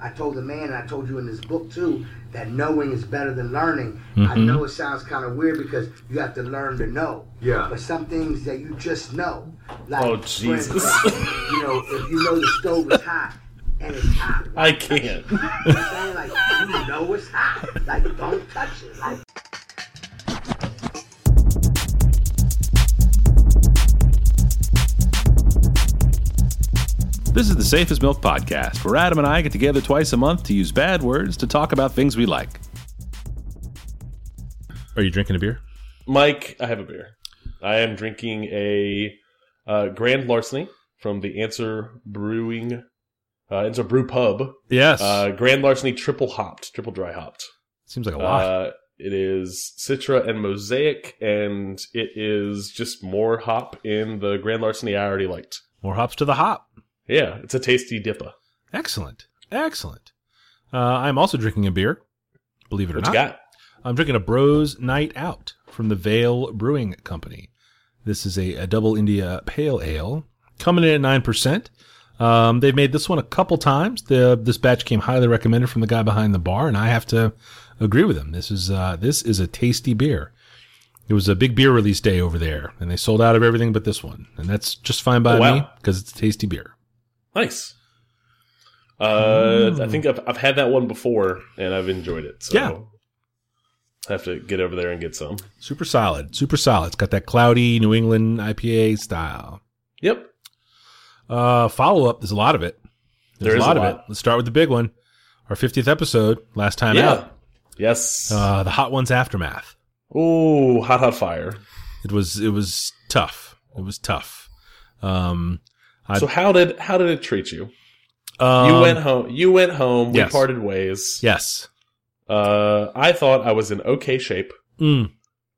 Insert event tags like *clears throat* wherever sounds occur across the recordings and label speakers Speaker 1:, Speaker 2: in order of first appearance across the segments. Speaker 1: I told the man, and I told you in this book too, that knowing is better than learning. I
Speaker 2: Mm-hmm.
Speaker 1: know it sounds kind of weird because you have to learn to know.
Speaker 3: Yeah.
Speaker 1: But some things that you just know, like
Speaker 2: Oh,
Speaker 1: for
Speaker 2: Jesus.
Speaker 1: instance, *laughs* you know, if you know the stove is hot and it's hot,
Speaker 2: I can't.
Speaker 1: you know what I'm saying? Like you know it's hot. Like don't touch it. Like
Speaker 2: This is the Safest Milk Podcast, where Adam and I get together twice a month to use bad words to talk about things we like.
Speaker 4: Are you drinking a beer?
Speaker 5: Mike, I have a beer. I am drinking a uh, Grand Larceny from the Answer Brewing, uh, Answer Brew Pub.
Speaker 4: Yes.
Speaker 5: Uh, Grand Larceny triple hopped, triple dry hopped.
Speaker 4: Seems like a lot.
Speaker 5: Uh, it is Citra and Mosaic, and it is just more hop in the Grand Larceny I already liked.
Speaker 4: More hops to the hop.
Speaker 5: Yeah, it's a tasty dipper.
Speaker 4: Excellent. Excellent. Uh, I'm also drinking a beer. Believe it or
Speaker 5: What
Speaker 4: not.
Speaker 5: you got?
Speaker 4: I'm drinking a Bros Night Out from the Vale Brewing Company. This is a, a double India pale ale coming in at 9%. Um, they've made this one a couple times. The, this batch came highly recommended from the guy behind the bar, and I have to agree with him. This is, uh, this is a tasty beer. It was a big beer release day over there, and they sold out of everything but this one. And that's just fine by
Speaker 5: Oh, wow.
Speaker 4: me because it's a tasty beer.
Speaker 5: Nice. Uh, I think I've, I've had that one before, and I've enjoyed it. So
Speaker 4: Yeah.
Speaker 5: I have to get over there and get some.
Speaker 4: Super solid. Super solid. It's got that cloudy New England IPA style.
Speaker 5: Yep.
Speaker 4: Uh, follow up. There's a lot of it. There's
Speaker 5: There
Speaker 4: a
Speaker 5: is
Speaker 4: lot
Speaker 5: a
Speaker 4: of it.
Speaker 5: lot.
Speaker 4: Let's start with the big one. Our 50th episode, last time
Speaker 5: yeah.
Speaker 4: out.
Speaker 5: Yes.
Speaker 4: Uh, the hot ones aftermath.
Speaker 5: Ooh, hot hot fire.
Speaker 4: It was it was tough. It was tough. Um, I-
Speaker 5: so how did how did it treat you?
Speaker 4: um,
Speaker 5: you went home. You went home.
Speaker 4: yes.
Speaker 5: We parted ways.
Speaker 4: Yes.
Speaker 5: Uh, I thought I was in okay shape.
Speaker 4: Mm.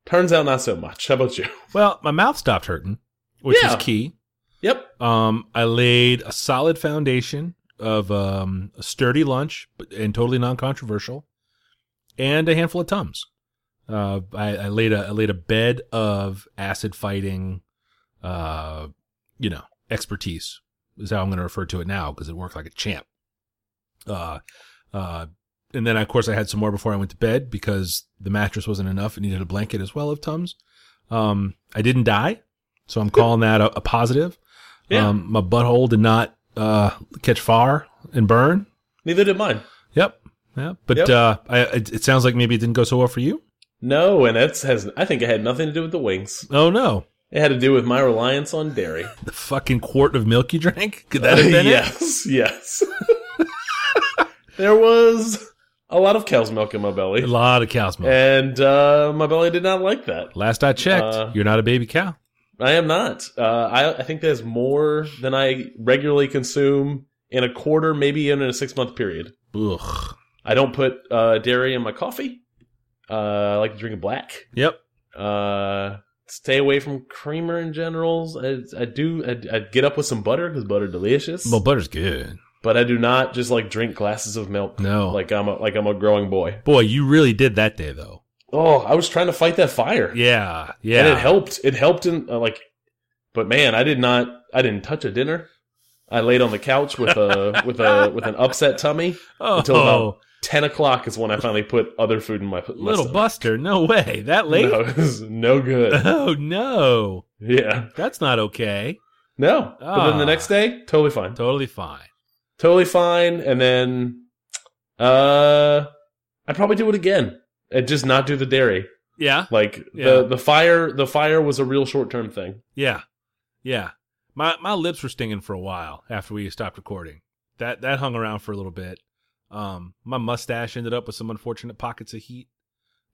Speaker 5: Turns out not so much. How about you? *laughs*
Speaker 4: Well, my mouth stopped hurting, which
Speaker 5: Yeah.
Speaker 4: is key.
Speaker 5: Yep.
Speaker 4: Um, I laid a solid foundation of um, a sturdy lunch but, and totally non-controversial, and a handful of tums. Uh, I, I laid a I laid a bed of acid fighting, uh, you know, expertise is how I'm going to refer to it now because it worked like a champ. Uh, uh, and then of course I had some more before I went to bed because the mattress wasn't enough. It needed a blanket as well of tums. Um, I didn't die, so I'm calling that a, a positive.
Speaker 5: Yeah.
Speaker 4: Um, my butthole did not uh, catch fire and burn.
Speaker 5: Neither did mine.
Speaker 4: Yep. Yeah. But
Speaker 5: Yep.
Speaker 4: Uh, I, it, it sounds like maybe it didn't go so well for you.
Speaker 5: No, and that's has. I think it had nothing to do with the wings.
Speaker 4: Oh no,
Speaker 5: It had to do with my reliance on dairy.
Speaker 4: the fucking quart of milk you drank. *laughs* Could that have
Speaker 5: *laughs*
Speaker 4: been it?
Speaker 5: yes. Yes. *laughs* there was a lot of cow's milk in my
Speaker 4: A
Speaker 5: belly,
Speaker 4: lot of cow's milk.
Speaker 5: and uh, my belly did not like that.
Speaker 4: Last I checked,
Speaker 5: Uh,
Speaker 4: you're not a baby cow.
Speaker 5: I am not. Uh, I, I think there's more than I regularly consume in a quarter, maybe even in a six month period.
Speaker 4: Ugh.
Speaker 5: I don't put uh, dairy in my coffee. Uh, I like to drink it black.
Speaker 4: Yep.
Speaker 5: Uh, stay away from creamer in general. I, I do. I, I get up with some butter because butter delicious.
Speaker 4: Well, butter's good.
Speaker 5: but I do not just like drink glasses of milk. Oh.
Speaker 4: No.
Speaker 5: Like I'm a, like I'm a growing boy.
Speaker 4: Boy, you really did that day though.
Speaker 5: Oh, I was trying to fight that fire.
Speaker 4: Yeah. Yeah.
Speaker 5: And it helped. It helped in uh, like, but man, I did not. I didn't touch a dinner. I laid on the couch with
Speaker 4: *laughs*
Speaker 5: a with a with an upset tummy.
Speaker 4: oh,
Speaker 5: until about Ten o'clock is when I finally put other food in my my
Speaker 4: little
Speaker 5: stomach.
Speaker 4: Buster. No way. That late?
Speaker 5: No, *laughs* it was no good.
Speaker 4: *laughs* Oh no,
Speaker 5: yeah,
Speaker 4: that's not okay.
Speaker 5: no. But then
Speaker 4: Ah.
Speaker 5: the next day, totally fine,
Speaker 4: Totally fine.
Speaker 5: totally fine. And then, uh, I'd probably do it again and just not do the dairy.
Speaker 4: Yeah.
Speaker 5: Like
Speaker 4: Yeah.
Speaker 5: the the fire, the fire was a real short term thing.
Speaker 4: Yeah. Yeah. My my lips were stinging for a while after we stopped recording. That that hung around for a little bit. Um my mustache ended up with some unfortunate pockets of heat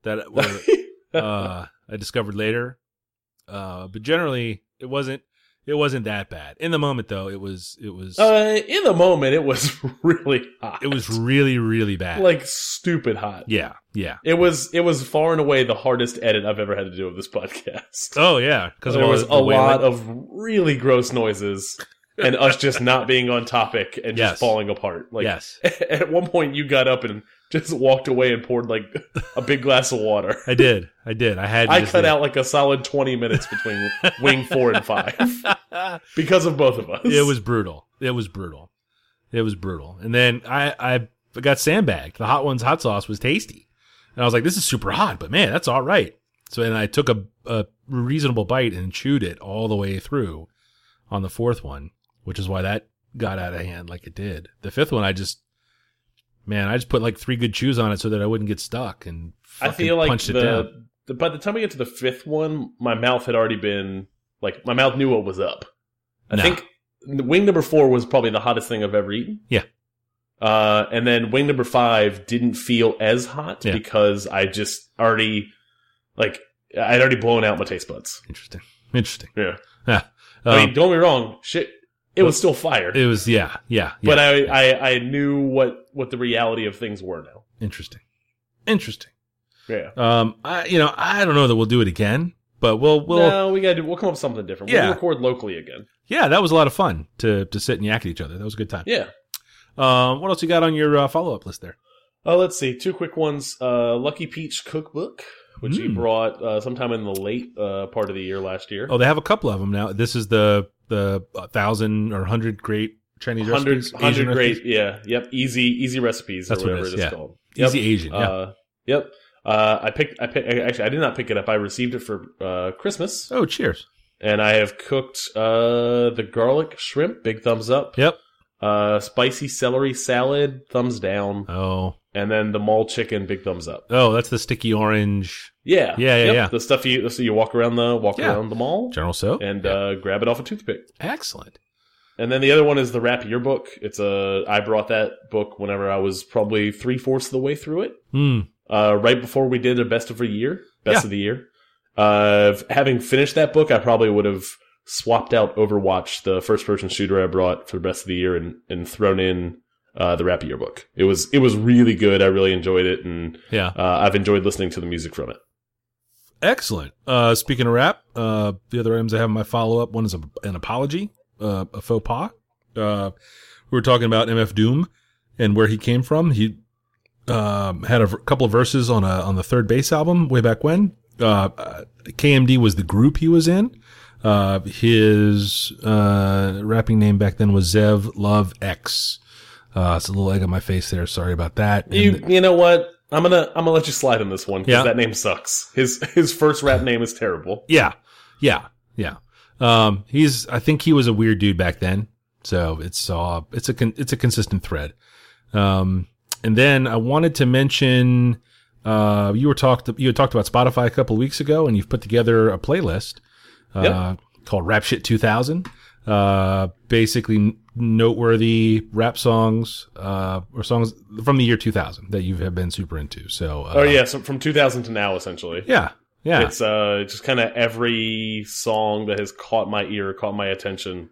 Speaker 4: that
Speaker 5: *laughs*
Speaker 4: were uh I discovered later. Uh but generally it wasn't it wasn't that bad. In the moment though, it was it was
Speaker 5: Uh, in the moment, it was *laughs* really hot.
Speaker 4: it was really really bad.
Speaker 5: like stupid hot.
Speaker 4: yeah. Yeah.
Speaker 5: It was it was far and away the hardest edit I've ever had to do of this podcast.
Speaker 4: Oh yeah, cuz
Speaker 5: there was a lot of really gross noises and us
Speaker 4: *laughs*
Speaker 5: just not being on topic and
Speaker 4: Yes.
Speaker 5: just falling apart. Like
Speaker 4: Yes.
Speaker 5: *laughs* at one point, you got up and just walked away and poured like a big glass of water.
Speaker 4: *laughs* I did. I did. I had to
Speaker 5: I
Speaker 4: just
Speaker 5: cut
Speaker 4: do it.
Speaker 5: out like a solid twenty minutes
Speaker 4: *laughs*
Speaker 5: between wing four and five
Speaker 4: "Ah,
Speaker 5: because of both of us.
Speaker 4: it was brutal. It was brutal. It was brutal. And then I I But got sandbagged. The hot one's hot sauce was tasty, and I was like, "This is super hot, but man, that's all right." So and I took a, a reasonable bite and chewed it all the way through, on the fourth one, which is why that got out of hand like it did. The fifth one, I just, man, I just put like three good chews on it so that I wouldn't get stuck and
Speaker 5: I
Speaker 4: fucking
Speaker 5: feel like
Speaker 4: punched it down.
Speaker 5: the, the by the time we get to the fifth one, my mouth had already been like my mouth knew what was up. I
Speaker 4: No.
Speaker 5: think wing number four was probably the hottest thing I've ever eaten.
Speaker 4: Yeah.
Speaker 5: Uh, and then wing number five didn't feel as hot
Speaker 4: Yeah.
Speaker 5: because I just already like I'd already blown out my taste buds.
Speaker 4: Interesting. *laughs* Interesting.
Speaker 5: Yeah.
Speaker 4: Um,
Speaker 5: I mean, don't get me wrong, shit, it was still fire.
Speaker 4: it was, yeah, yeah. yeah
Speaker 5: but I, I I knew what what the reality of things were now.
Speaker 4: interesting. Interesting.
Speaker 5: Yeah.
Speaker 4: Um, I, you know, I don't know that we'll do it again, but we'll, we'll,
Speaker 5: no, we gotta do, we'll come up with something different.
Speaker 4: Yeah.
Speaker 5: We'll record locally again.
Speaker 4: yeah, that was a lot of fun to, to sit and yak at each other. That was a good time.
Speaker 5: Yeah.
Speaker 4: Um, what else you got on your uh, follow up list there?
Speaker 5: Uh, let's see, two quick ones. Uh, Lucky Peach Cookbook, which he
Speaker 4: Mm.
Speaker 5: brought uh, sometime in the late uh, part of the year last year.
Speaker 4: Oh, they have a couple of them now. This is the, the uh, thousand or hundred great Chinese
Speaker 5: 100,
Speaker 4: recipes.
Speaker 5: 100
Speaker 4: Asian
Speaker 5: great,
Speaker 4: recipes.
Speaker 5: yeah, yep, easy, easy recipes
Speaker 4: That's
Speaker 5: or
Speaker 4: what it
Speaker 5: whatever
Speaker 4: is,
Speaker 5: it is
Speaker 4: yeah.
Speaker 5: called.
Speaker 4: Easy Asian. Yeah.
Speaker 5: Uh, yep. Uh, I picked. I picked. Actually, I did not pick it up. I received it for uh, Christmas,
Speaker 4: oh, cheers.
Speaker 5: and I have cooked uh, the garlic shrimp. Big thumbs up.
Speaker 4: Yep.
Speaker 5: Uh, spicy celery salad. Thumbs down.
Speaker 4: Oh,
Speaker 5: And then the mole chicken. Big thumbs up.
Speaker 4: oh, that's the sticky orange
Speaker 5: Yeah.
Speaker 4: Yeah, yeah, yeah.
Speaker 5: The stuff you so you walk around the walk
Speaker 4: Yeah.
Speaker 5: around the mall.
Speaker 4: General soap.
Speaker 5: and uh, grab it off a toothpick.
Speaker 4: Excellent.
Speaker 5: And then the other one is the wrap your book. It's a I brought that book whenever I was probably three fourths of the way through it,
Speaker 4: Hmm.
Speaker 5: uh, right before we did a best of the year, best
Speaker 4: Yeah.
Speaker 5: of the year. Uh, f- having finished that book, I probably would have swapped out Overwatch, the first person shooter I brought for the rest of the year, and and thrown in uh, the wrap your book. It was it was really good. I really enjoyed it, and
Speaker 4: Yeah.
Speaker 5: uh, I've enjoyed listening to the music from it.
Speaker 4: Excellent. Uh, speaking of rap, uh, the other items I have in my follow up one is a, an apology, uh, a faux pas. Uh, we were talking about MF Doom and where he came from. He um, had a v- couple of verses on a on the third base album way back when. Uh, uh, KMD was the group he was in. Uh, his uh, rapping name back then was Zev Love X. Uh, it's a little egg on my face there. Sorry about that. And
Speaker 5: You you know what? I'm gonna I'm gonna let you slide on this one because
Speaker 4: Yeah.
Speaker 5: that name sucks. His his first
Speaker 4: *laughs*
Speaker 5: rap name is terrible.
Speaker 4: Yeah, yeah, yeah. Um, he's I think he was a weird dude back then, so it's uh it's a con- it's a consistent thread. Um, and then I wanted to mention uh you were talked you had talked about Spotify a couple weeks ago, and you've put together a playlist uh, called Rap Shit 2000. Uh, basically n- noteworthy rap songs uh or songs from the year 2000 that you have been super into. So uh,
Speaker 5: oh yeah, so from 2000 to now essentially.
Speaker 4: yeah, yeah.
Speaker 5: It's uh just kind of every song that has caught my ear, caught my attention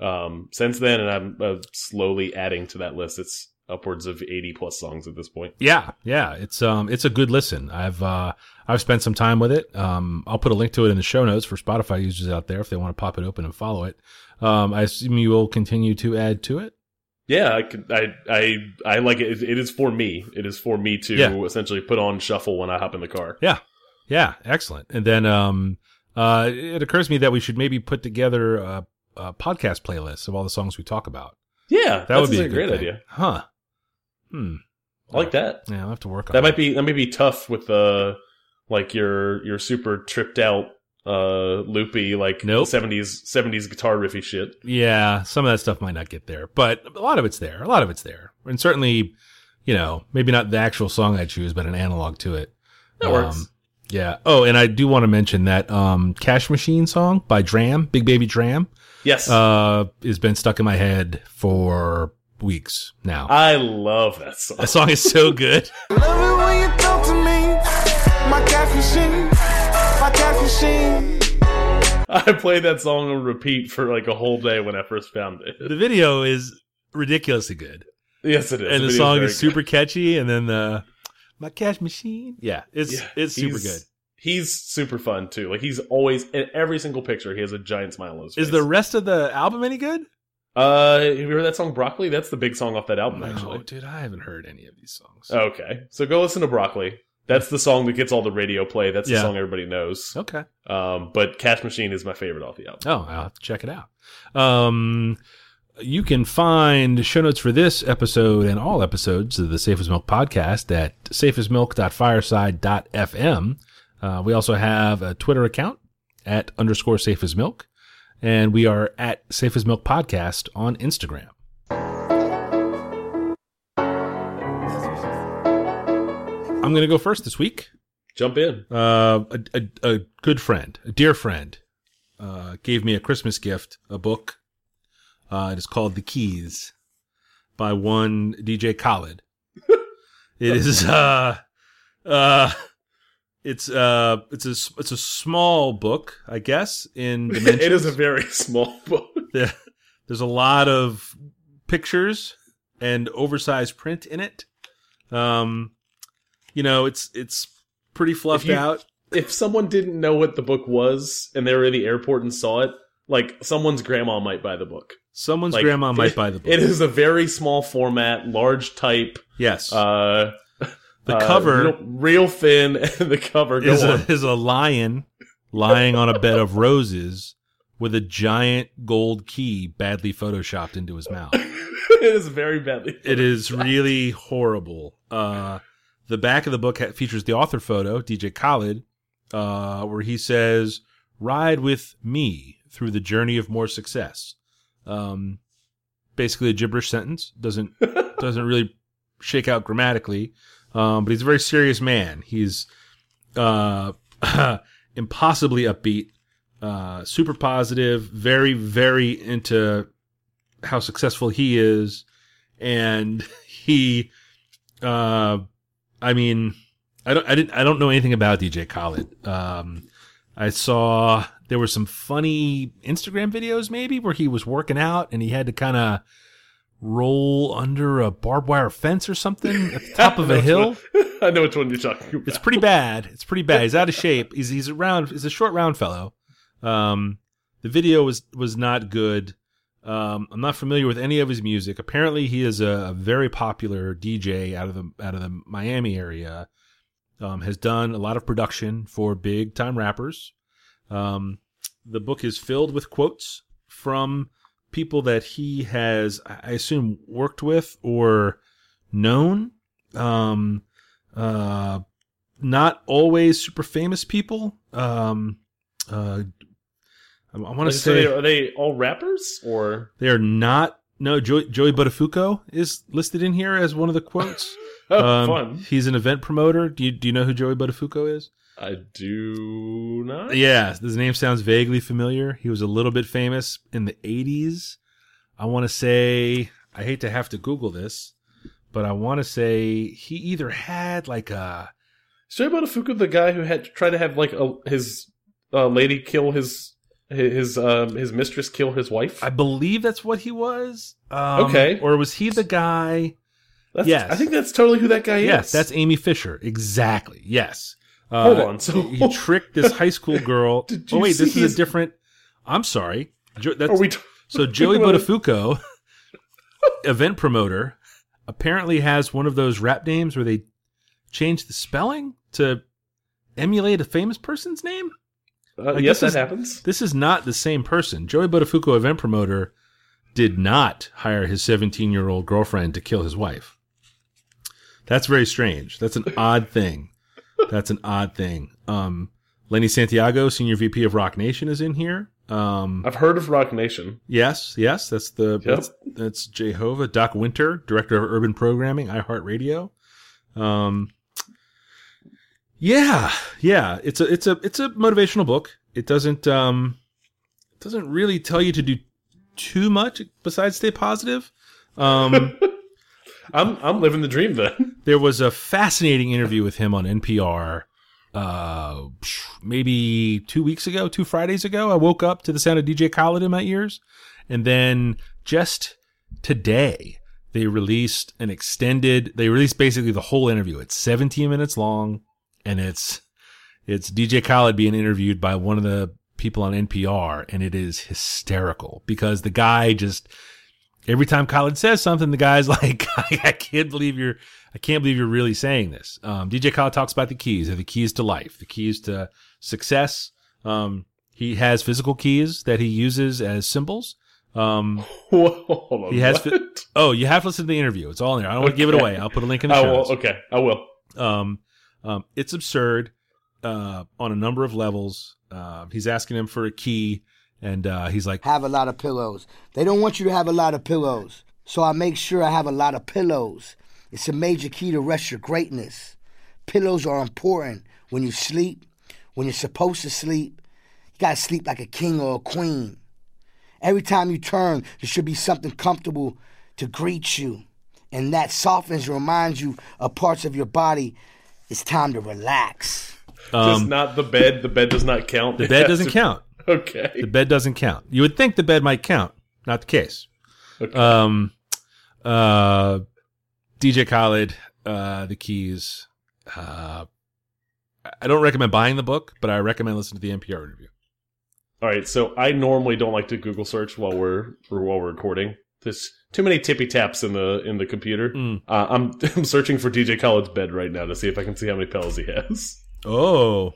Speaker 5: um since then, and I'm uh, slowly adding to that list. It's upwards of 80 plus songs at this point.
Speaker 4: Yeah, yeah, it's um, it's a good listen. I've uh, I've spent some time with it. Um, I'll put a link to it in the show notes for Spotify users out there if they want to pop it open and follow it. Um, I assume you will continue to add to it.
Speaker 5: Yeah, I could, I, I I like it. It is for me. It is for me to
Speaker 4: Yeah.
Speaker 5: essentially put on shuffle when I hop in the car.
Speaker 4: Yeah, excellent. And then um, uh, it occurs to me that we should maybe put together a, a podcast playlist of all the songs we talk about.
Speaker 5: Yeah,
Speaker 4: That would be
Speaker 5: a
Speaker 4: a good
Speaker 5: great
Speaker 4: thing.
Speaker 5: idea.
Speaker 4: huh? Hmm.
Speaker 5: I like that.
Speaker 4: Yeah, I'll have to work on
Speaker 5: that might be that may be tough with uh like your your super tripped out uh loopy like
Speaker 4: Nope.
Speaker 5: 70s 70s guitar riffy shit
Speaker 4: Yeah, some of that stuff might not get there, but a lot of it's there. A lot of it's there, and certainly, you know, maybe not the actual song I choose, but an analog to it.
Speaker 5: That works.
Speaker 4: Yeah. Oh, and I do want to mention that um, "Cash Machine" song by Dram, Big Baby Dram,
Speaker 5: yes
Speaker 4: uh, has been stuck in my head for weeks now.
Speaker 5: i love that song *laughs*
Speaker 4: that song is so good.
Speaker 3: Love it when you talk to me. My cash machine, my cash machine.
Speaker 5: i played that song on repeat for like a whole day when i first found it *laughs*
Speaker 4: the video is ridiculously good,
Speaker 5: yes it is
Speaker 4: and the
Speaker 5: video
Speaker 4: song
Speaker 5: very
Speaker 4: is super catchy. And then the "My Cash Machine," yeah,
Speaker 5: good.
Speaker 4: it's
Speaker 5: Yeah,
Speaker 4: it's super
Speaker 5: he's-
Speaker 4: good.
Speaker 5: he's super fun too like he's always in every single picture he has a giant smile on his face
Speaker 4: Is the rest of the album any good?
Speaker 5: uh have you heard that song broccoli that's the big song off that album
Speaker 4: No,
Speaker 5: Oh, actually Oh.
Speaker 4: dude, I haven't heard any of these songs.
Speaker 5: okay so go listen to broccoli that's the song that gets all the radio play that's
Speaker 4: Yeah.
Speaker 5: the song everybody knows
Speaker 4: Okay.
Speaker 5: Um, but Cash Machine is my favorite off the album.
Speaker 4: Oh, I'll have to check it out. Um, You can find show notes for this episode and all episodes of the Safest Milk podcast at safestmilk.fireside.fm. Uh, we also have a Twitter account at underscore safe as milk, and we are at safe as milk podcast on Instagram. I'm going to go first this week.
Speaker 5: Jump in.
Speaker 4: Uh, a, a, a good friend, a dear friend, uh, gave me a Christmas gift, a book. Uh, it is called The Keys by one DJ Khaled. it is, uh, uh, it's, uh, it's a, s- it's a small book, I guess,
Speaker 5: *laughs*
Speaker 4: in dimensions.
Speaker 5: it is a very small book.
Speaker 4: Yeah. There's a lot of pictures and oversized print in it. Um, you know, it's, it's pretty fluffed
Speaker 5: you-
Speaker 4: out.
Speaker 5: If someone didn't know what the book was and they were in the airport and saw it, like someone's grandma might buy the book.
Speaker 4: Someone's
Speaker 5: Like, *laughs*
Speaker 4: grandma might buy the book.
Speaker 5: It is a very small format, large type.
Speaker 4: yes.
Speaker 5: Uh,
Speaker 4: the
Speaker 5: uh,
Speaker 4: cover
Speaker 5: real, real thin, *laughs* and the cover. Go
Speaker 4: is a,
Speaker 5: on. *laughs*
Speaker 4: is a lion lying on a bed of roses with a giant gold key badly photoshopped into his mouth.
Speaker 5: it is very badly.
Speaker 4: It is really horrible. Uh, the back of the book ha- features the author photo, DJ Khaled, uh, where he says, "Ride with me through the journey of more success." Um, basically, a gibberish sentence doesn't doesn't really shake out grammatically, um, but he's a very serious man. He's uh, *laughs* impossibly upbeat, uh, super positive, very very into how successful he is and *laughs* he uh i mean i don't i didn't i don't know anything about dj khaled um i saw there were some funny instagram videos maybe where he was working out and he had to kind of roll under a barbed wire fence or something at the top of
Speaker 5: *laughs*
Speaker 4: a
Speaker 5: That's
Speaker 4: hill
Speaker 5: what- I know which one you're talking about.
Speaker 4: it's pretty bad. It's pretty bad. He's out of shape. He's he's a round. He's a short, round fellow. Um, the video was was not good. Um, I'm not familiar with any of his music. Apparently, he is a, a very popular DJ out of the out of the Miami area. Um, has done a lot of production for big time rappers. Um, the book is filled with quotes from people that he has, I I assume, worked with or known. Um, uh, not always super famous people. Um, uh, I want
Speaker 5: Like,
Speaker 4: to
Speaker 5: so they-
Speaker 4: say
Speaker 5: are they all rappers or?
Speaker 4: they are not. No, Joey, Joey Buttafuoco is listed in here as one of the quotes.
Speaker 5: *laughs* Oh,
Speaker 4: Um,
Speaker 5: fun.
Speaker 4: He's an event promoter. Do you do you know who Joey Buttafuoco is?
Speaker 5: I do not.
Speaker 4: Yeah, his name sounds vaguely familiar. He was a little bit famous in the 80s. I want to say, I hate to have to Google this, but I want to say he either had like a.
Speaker 5: Is Jerry Motofuku the guy who had tried to have like a, his uh, lady kill his his his, um, his mistress kill his wife?
Speaker 4: I believe that's what he was. Um,
Speaker 5: Okay.
Speaker 4: Or was he the guy?
Speaker 5: that's,
Speaker 4: yes.
Speaker 5: I think that's totally who that guy
Speaker 4: Yes,
Speaker 5: is.
Speaker 4: that's Amy Fisher. Exactly. Yes. Uh,
Speaker 5: hold on. So
Speaker 4: He tricked this high
Speaker 5: *laughs*
Speaker 4: school girl.
Speaker 5: Did
Speaker 4: oh,
Speaker 5: you
Speaker 4: wait, this
Speaker 5: see
Speaker 4: is
Speaker 5: his-
Speaker 4: a different. I'm sorry. Jo- that's,
Speaker 5: are we? T-
Speaker 4: So Joey
Speaker 5: Wait a
Speaker 4: Buttafuoco, event promoter, apparently has one of those rap names where they change the spelling to emulate a famous person's name.
Speaker 5: uh,
Speaker 4: like,
Speaker 5: yes, that
Speaker 4: this is-
Speaker 5: happens.
Speaker 4: This is not the same person. Joey Buttafuoco, event promoter, did not hire his 17-year-old girlfriend to kill his wife. That's very strange. That's an odd thing. That's an odd thing. Um, Lenny Santiago, senior VP of Rock Nation, is in here. Um,
Speaker 5: I've heard of Rock Nation.
Speaker 4: Yes, yes, that's the that's, that's Jehovah Doc Winter, director of urban programming, iHeartRadio. Um, yeah, yeah, it's a it's a it's a motivational book. It doesn't um, it doesn't really tell you to do too much besides stay positive. Um,
Speaker 5: I'm I'm living the dream then. *laughs*
Speaker 4: there was a fascinating interview with him on NPR. Uh, maybe two weeks ago, two Fridays ago, I woke up to the sound of DJ Khaled in my ears, and then just today they released an extended. They released basically the whole interview. It's 17 minutes long, and it's it's DJ Khaled being interviewed by one of the people on NPR, and it is hysterical because the guy just every time Khaled says something, the guy's *laughs* like, I can't believe you're, I can't believe you're really saying this. Um, DJ Khaled talks about the keys, they're the keys to life, the keys to success. Um, he has physical keys that he uses as symbols. Um,
Speaker 5: Whoa, hold on.
Speaker 4: He has
Speaker 5: what?
Speaker 4: oh, you have to listen to the interview. It's all in there. I don't want to give it
Speaker 5: Okay.
Speaker 4: away. I'll put a link
Speaker 5: *laughs*
Speaker 4: in the
Speaker 5: I
Speaker 4: show.
Speaker 5: will.
Speaker 4: notes.
Speaker 5: Oh, Okay, I will.
Speaker 4: Um, um, it's absurd uh, on a number of levels. Uh, he's asking him for a key, and uh, he's like,
Speaker 1: Have a lot of pillows. They don't want you to have a lot of pillows. So I make sure I have a lot of pillows. It's a major key to rest your greatness. Pillows are important when you sleep, when you're supposed to sleep. You gotta sleep like a king or a queen. Every time you turn, there should be something comfortable to greet you. And that softens, reminds you of parts of your body. It's time to relax.
Speaker 5: *laughs* Just *laughs* not the bed. The bed does not count.
Speaker 4: Um, "The bed doesn't count.
Speaker 5: *laughs* Okay.
Speaker 4: The bed doesn't count. You would think the bed might count. Not the case."
Speaker 5: Okay.
Speaker 4: Um, uh, DJ Khaled, uh, the keys. Uh, I- I don't recommend buying the book, but I recommend listening to the NPR interview.
Speaker 5: All right. So I normally don't like to Google search while we're or while we're recording. There's too many tippy taps in the in the computer. Uh, I'm *laughs* I'm searching for DJ Khaled's bed right now to see if I can see how many pillows he has.
Speaker 4: Oh,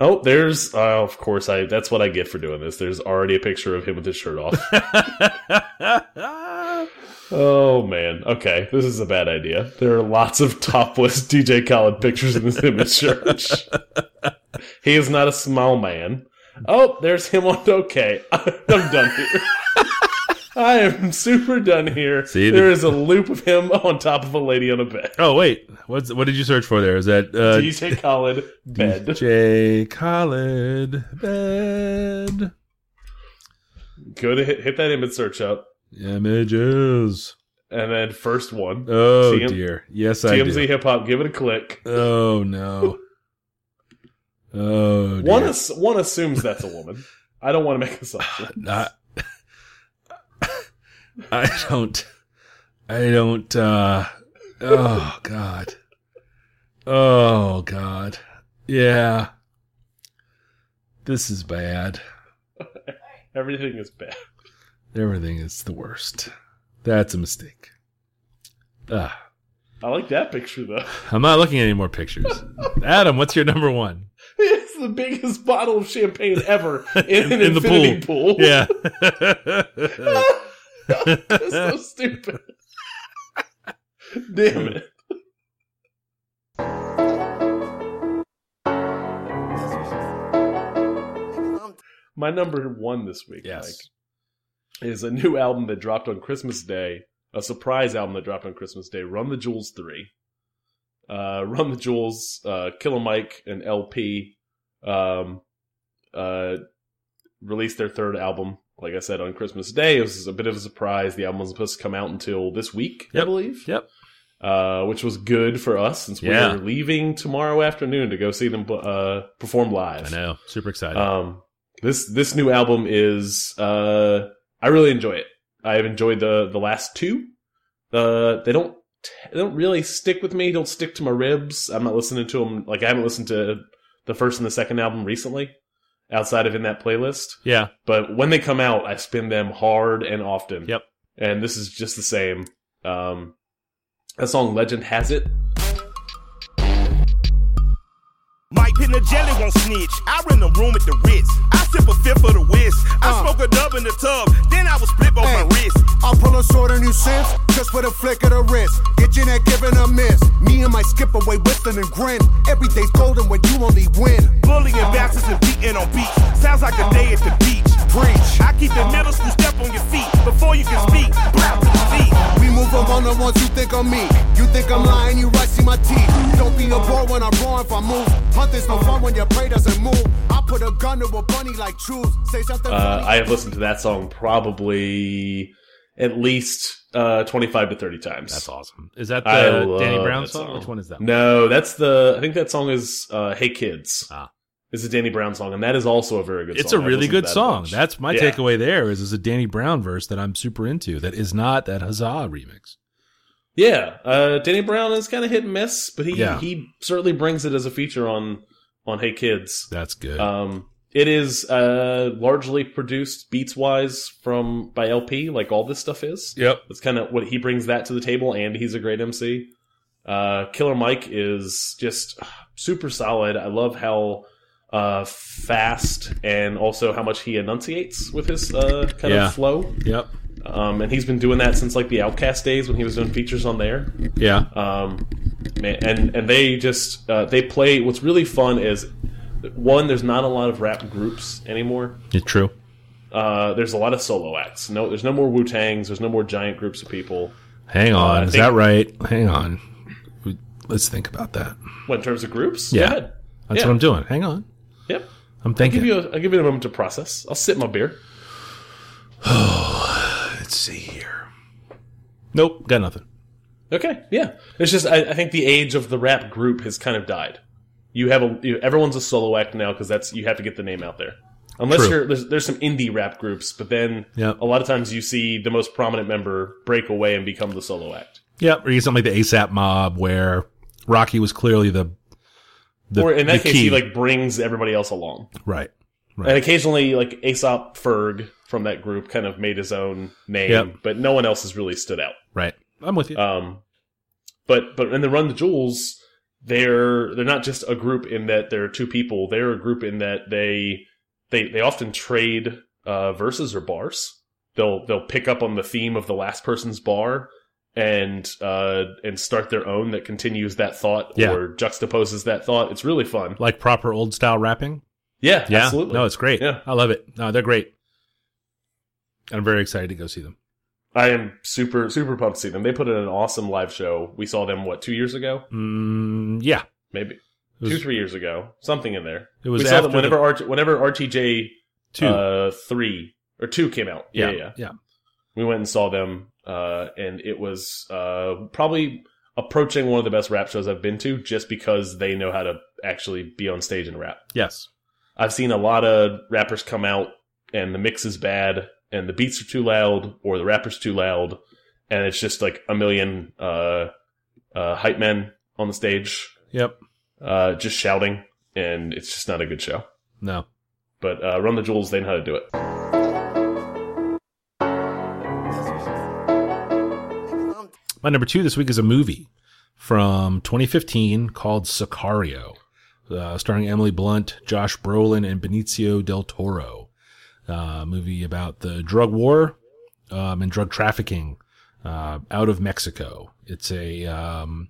Speaker 5: Oh, there's uh, of course I. That's what I get for doing this. There's already a picture of him with his shirt off. Oh man. Okay, this is a bad idea. There are lots of topless *laughs* DJ Khaled pictures in this image search.
Speaker 4: *laughs*
Speaker 5: he is not a small man. Oh, there's him on. Okay, *laughs* I'm done here. I am super done here.
Speaker 4: See,
Speaker 5: there
Speaker 4: the-
Speaker 5: is a loop of him on top of a lady on a bed.
Speaker 4: *laughs* oh, wait. What's what did you search for there? Is that uh,
Speaker 5: DJ Khaled bed.
Speaker 4: DJ Khaled bed
Speaker 5: Go to hit, hit that image search up,
Speaker 4: images?
Speaker 5: and then first one.
Speaker 4: Oh
Speaker 5: TM
Speaker 4: dear, yes I
Speaker 5: TMZ
Speaker 4: do.
Speaker 5: hip hop. Give it a click.
Speaker 4: Oh no. Oh,
Speaker 5: One
Speaker 4: dear.
Speaker 5: ass- one assumes that's a woman. I don't want to make *laughs* assumptions.
Speaker 4: I, *laughs* I don't. I don't. uh Oh God. Oh God. Yeah. This is bad. Ah.
Speaker 5: Everything is bad.
Speaker 4: Everything is the worst. That's a mistake. Ah,
Speaker 5: I like that picture though.
Speaker 4: I'm not looking at any more pictures. Adam, what's your number one?
Speaker 5: *laughs* It's the biggest bottle of champagne *laughs* ever in, an
Speaker 4: In the
Speaker 5: infinity pool.
Speaker 4: Yeah.
Speaker 5: *laughs*
Speaker 4: *laughs*
Speaker 5: That's so stupid. Damn it. My number one this week,
Speaker 4: yes.
Speaker 5: Mike, is a new album that dropped on Christmas Day. A surprise album that dropped on Christmas Day. Run the Jewels three. Uh, Run the Jewels, uh, Killer Mike, and LP. Um, uh, released their third album, like I said, on Christmas Day. It was a bit of a surprise. The album was supposed to come out until this week, I
Speaker 4: Yep.
Speaker 5: believe.
Speaker 4: Yep.
Speaker 5: Uh, which was good for us since
Speaker 4: Yeah.
Speaker 5: we are leaving tomorrow afternoon to go see them uh, perform live.
Speaker 4: I know. Super excited.
Speaker 5: Um, this this new album is uh, I really enjoy it. I have enjoyed the the last two. Uh, they don't they don't really stick with me. Don't stick to my ribs. I'm not listening to them. Like I haven't listened to the first and the second album recently, outside of in that playlist.
Speaker 4: yeah.
Speaker 5: But when they come out, I spin them hard and often.
Speaker 4: Yep.
Speaker 5: And this is just the same. Um, that song "Legend Has It"
Speaker 6: Mike Pinagelli won't snitch. I rent a room at the Ritz. I sip a fifth of the whiz. I smoke a dub in the tub. Then I was flip on my wrist.
Speaker 7: I'll pull a sword on you since, just for the flick of the wrist. Get your neck giving a miss. Me and my skip away whistling and grin. Every day's golden when you only win.
Speaker 6: Bullying bastards and beating on beats. Sounds like a day at the beach.
Speaker 7: Preach.
Speaker 6: I keep the middle school step on your feet. Before you can speak, blast to the feet.
Speaker 7: We move among the ones you think I'm me. You think I'm lying, you right, see my teeth. Don't be a bore when I roar if I move. Hunt is no fun when your prey doesn't move. I put a gun to a bunny like truth. Say something
Speaker 5: Uh,
Speaker 7: funny.
Speaker 5: I have listened to that song probably at least uh, 25 to 30 times.
Speaker 4: That's awesome. Is that
Speaker 5: I
Speaker 4: the
Speaker 5: love
Speaker 4: Danny Brown
Speaker 5: that
Speaker 4: song? Which one is that?
Speaker 5: No, that's the. I think that song is uh, "Hey Kids."
Speaker 4: Ah.
Speaker 5: It's a Danny Brown song, and that is also a very good.
Speaker 4: It's
Speaker 5: song.
Speaker 4: a
Speaker 5: I've
Speaker 4: really
Speaker 5: listened to
Speaker 4: good
Speaker 5: that a
Speaker 4: song.
Speaker 5: bunch.
Speaker 4: That's my
Speaker 5: Yeah.
Speaker 4: takeaway there is it's a Danny Brown verse that I'm super into that is not that Huzzah remix.
Speaker 5: Yeah, uh, Danny Brown is kind of hit and miss, but he
Speaker 4: Yeah.
Speaker 5: he certainly brings it as a feature on on "Hey Kids."
Speaker 4: That's good.
Speaker 5: Um, it is uh, largely produced beats wise from by LP, like all this stuff is.
Speaker 4: yep.
Speaker 5: That's kind of what he brings that to the table, and he's a great MC. Uh, Killer Mike is just super solid. I love how uh, fast and also how much he enunciates with his uh, kind
Speaker 4: Yeah.
Speaker 5: of flow.
Speaker 4: Yep.
Speaker 5: Um, and he's been doing that since like the Outcast days when he was doing features on there.
Speaker 4: Yeah.
Speaker 5: Um, man, and and they just uh, they play. What's really fun is one. There's not a lot of rap groups anymore.
Speaker 4: it's true.
Speaker 5: Uh, there's a lot of solo acts. No, there's no more Wu Tangs. There's no more giant groups of people.
Speaker 4: Hang on.
Speaker 5: I
Speaker 4: Is
Speaker 5: think-
Speaker 4: that right? Hang on. We- Let's think about that.
Speaker 5: What in terms of groups?
Speaker 4: Yeah.
Speaker 5: Go ahead.
Speaker 4: That's
Speaker 5: Yeah.
Speaker 4: what I'm doing. Hang on.
Speaker 5: Yep.
Speaker 4: I'm thinking.
Speaker 5: Give you. A, I'll give you a moment to process. I'll sip my beer.
Speaker 4: Let's see here. Nope. Got nothing.
Speaker 5: Okay. Yeah. It's just I, I think the age of the rap group has kind of died. You have a you, everyone's a solo act now because that's you have to get the name out there. Unless
Speaker 4: True.
Speaker 5: you're there's, there's some indie rap groups, but then
Speaker 4: Yep.
Speaker 5: a lot of times you see the most prominent member break away and become the solo act.
Speaker 4: Yep. Or you get something like the ASAP mob where Rocky was clearly the. the
Speaker 5: or in that
Speaker 4: the
Speaker 5: case,
Speaker 4: key.
Speaker 5: he like brings everybody else along.
Speaker 4: Right.
Speaker 5: And occasionally, like Aesop Ferg from that group kind of made his own name,
Speaker 4: Yep.
Speaker 5: but no one else has really stood out.
Speaker 4: Right. I'm with you.
Speaker 5: Um, but but in the Run the Jewels, they're they're not just a group in that they're two people. They're a group in that they they they often trade uh, verses or bars. They'll they'll pick up on the theme of the last person's bar and uh, and start their own that continues that thought
Speaker 4: Yeah.
Speaker 5: or juxtaposes that thought. It's really fun.
Speaker 4: like proper old style rapping.
Speaker 5: Yeah,
Speaker 4: Yeah.
Speaker 5: absolutely.
Speaker 4: No, it's great.
Speaker 5: Yeah.
Speaker 4: I love it. No, they're great. I'm very excited to go see them.
Speaker 5: I am super super pumped to see them. They put in an awesome live show. We saw them what two years ago,
Speaker 4: Mm, yeah.
Speaker 5: maybe
Speaker 4: It was
Speaker 5: two three years ago, something in there.
Speaker 4: It was
Speaker 5: we saw them
Speaker 4: after
Speaker 5: whenever RT, whenever RTJ
Speaker 4: two.
Speaker 5: uh, three or two came out. Yeah, yeah, yeah.
Speaker 4: Yeah.
Speaker 5: We went and saw them, uh, and it was uh, probably approaching one of the best rap shows I've been to, just because they know how to actually be on stage and rap.
Speaker 4: Yes.
Speaker 5: I've seen a lot of rappers come out and the mix is bad and the beats are too loud or the rappers too loud and it's just like a million uh, uh, hype men on the stage
Speaker 4: Yep.
Speaker 5: uh, just shouting and it's just not a good show.
Speaker 4: No.
Speaker 5: But uh, Run the Jewels, they know how to do it.
Speaker 4: My number two this week is a movie from 2015 called Sicario, uh, starring Emily Blunt, Josh Brolin, and Benicio del Toro. Uh, movie about the drug war um, and drug trafficking uh, out of Mexico. It's a um,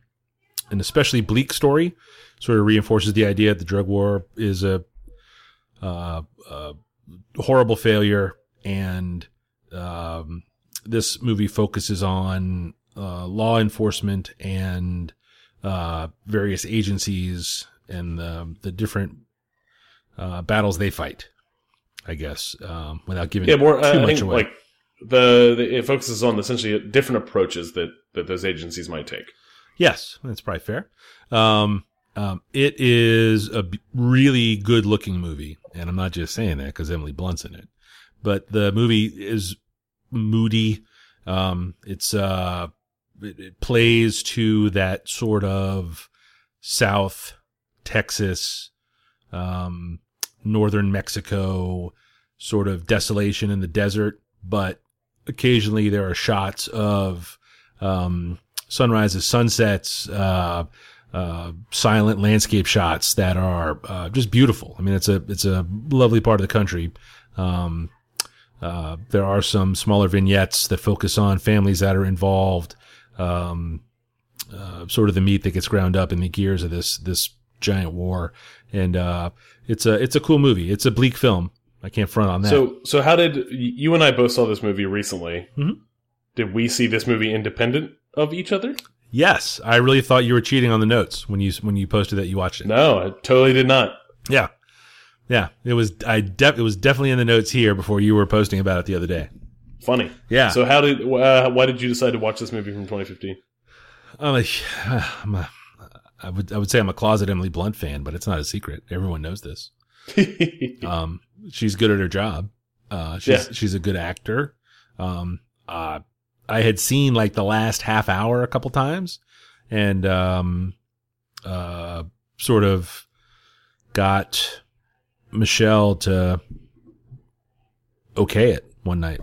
Speaker 4: an especially bleak story. Sort of reinforces the idea that the drug war is a uh, uh, horrible failure, and um, this movie focuses on uh, law enforcement and uh, various agencies and the the different uh, battles they fight. I guess um, without giving
Speaker 5: Yeah, more. uh,
Speaker 4: too
Speaker 5: I
Speaker 4: much
Speaker 5: think
Speaker 4: away.
Speaker 5: like the, the it focuses on essentially different approaches that that those agencies might take.
Speaker 4: Yes, that's probably fair. Um, um, it is a b- really good looking movie, and I'm not just saying that because Emily Blunt's in it. But the movie is moody. Um, it's uh, it, it plays to that sort of South Texas, um, northern Mexico sort of desolation in the desert, but occasionally there are shots of um, sunrises, sunsets, uh, uh, silent landscape shots that are uh, just beautiful. I mean, it's a it's a lovely part of the country. Um, uh, there are some smaller vignettes that focus on families that are involved. Um, uh, sort of the meat that gets ground up in the gears of this this giant war, and uh, it's a it's a cool movie. It's a bleak film. I can't front on that.
Speaker 5: So so how did y- you and I both saw this movie recently?
Speaker 4: Mhm.
Speaker 5: Did we see this movie independent of each other?
Speaker 4: Yes, I really thought you were cheating on the notes when you when you posted that you watched it.
Speaker 5: No, I totally did not.
Speaker 4: Yeah, yeah, it was I def it was definitely in the notes here before you were posting about it the other day.
Speaker 5: Funny.
Speaker 4: Yeah.
Speaker 5: So how did uh, why did you decide to watch this movie from 2015? *laughs*
Speaker 4: I'm a, *sighs* I'm a, I would I would say I'm a closet Emily Blunt fan, but it's not a secret. Everyone knows this. Um, she's good at her job. Uh, she's
Speaker 5: Yeah.
Speaker 4: she's a good actor. Um, uh, I had seen like the last half hour a couple times, and um, uh, sort of got Michelle to okay it one night.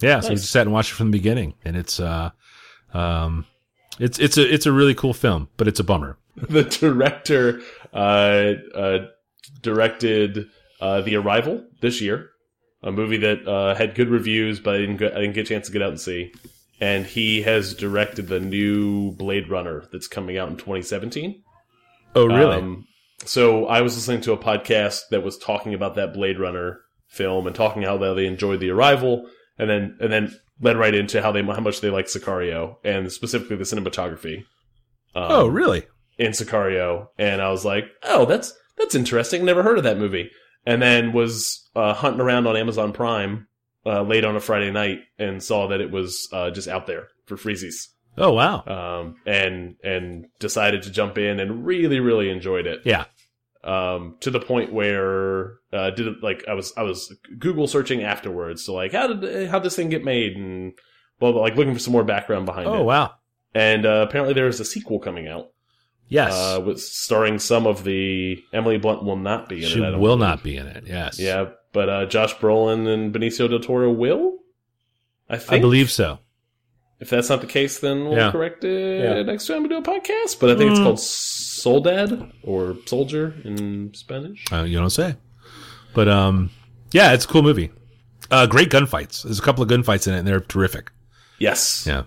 Speaker 4: Yeah, so we
Speaker 5: Nice.
Speaker 4: just sat and watched it from the beginning, and it's uh, um, it's it's a it's a really cool film, but it's a bummer.
Speaker 5: the director uh, uh, directed uh, The Arrival this year, a movie that uh, had good reviews, but I didn't, get, I didn't get a chance to get out and see. And he has directed the new Blade Runner that's coming out in 2017.
Speaker 4: Oh, really?
Speaker 5: Um, so I was listening to a podcast that was talking about that Blade Runner film and talking how they enjoyed The Arrival, and then and then led right into how they how much they like Sicario and specifically the cinematography. Um,
Speaker 4: oh, really?
Speaker 5: in Sicario, and I was like, "Oh, that's that's interesting. Never heard of that movie." And then was uh, hunting around on Amazon Prime uh, late on a Friday night and saw that it was uh, just out there for freezies,
Speaker 4: Oh, wow.
Speaker 5: um, and and decided to jump in and really really enjoyed it
Speaker 4: Yeah.
Speaker 5: um, to the point where uh, did it, like I was I was Google searching afterwards, so like how did how this thing get made and blah blah like looking for some more background behind
Speaker 4: Oh,
Speaker 5: it.
Speaker 4: wow.
Speaker 5: And uh, apparently there is a sequel coming out
Speaker 4: Yes.
Speaker 5: uh, with starring some of the Emily Blunt will not be in
Speaker 4: she
Speaker 5: it. I don't-
Speaker 4: will not be in it. Yes.
Speaker 5: Yeah, but uh, Josh Brolin and Benicio del Toro will. I think.
Speaker 4: I believe so.
Speaker 5: If that's not the case, then we'll
Speaker 4: Yeah.
Speaker 5: correct it
Speaker 4: Yeah. Hmm.
Speaker 5: next time we do a podcast. But I think it's called Soldad or Soldier in Spanish.
Speaker 4: Uh, you don't say. But um, yeah, it's a cool movie. Uh, great gunfights. There's a couple of gunfights in it, and they're terrific.
Speaker 5: Yes.
Speaker 4: Yeah.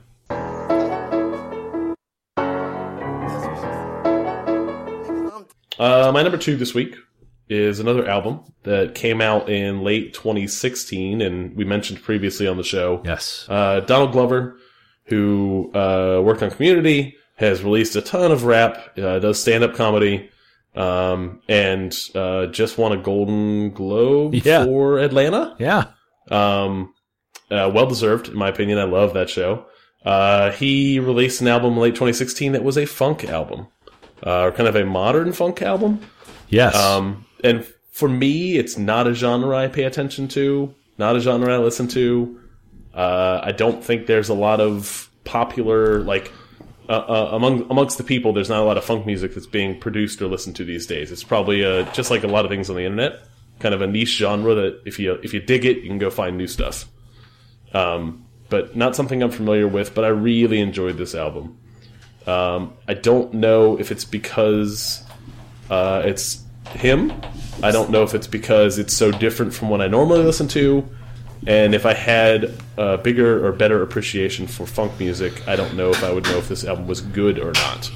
Speaker 5: Uh, my number two this week is another album that came out in late 2016, and we mentioned previously on the show.
Speaker 4: Yes.
Speaker 5: Uh, Donald Glover, who uh, worked on Community, has released a ton of rap, uh, does stand up comedy, um, and uh, just won a Golden Globe
Speaker 4: Yeah.
Speaker 5: for Atlanta.
Speaker 4: Yeah.
Speaker 5: Um, uh, well deserved, in my opinion. I love that show. Uh, he released an album in late 2016 that was a funk album, uh, or kind of a modern funk album.
Speaker 4: Yes.
Speaker 5: Um, and for me, it's not a genre I pay attention to, not a genre I listen to. Uh, I don't think there's a lot of popular like uh, uh, among amongst the people. There's not a lot of funk music that's being produced or listened to these days. It's probably uh just like a lot of things on the internet, kind of a niche genre that if you if you dig it, you can go find new stuff. Um, but not something I'm familiar with. But I really enjoyed this album. Um, I don't know if it's because uh, it's him. I don't know if it's because it's so different from what I normally listen to, and if I had a bigger or better appreciation for funk music, I don't know if I would know if this album was good or not.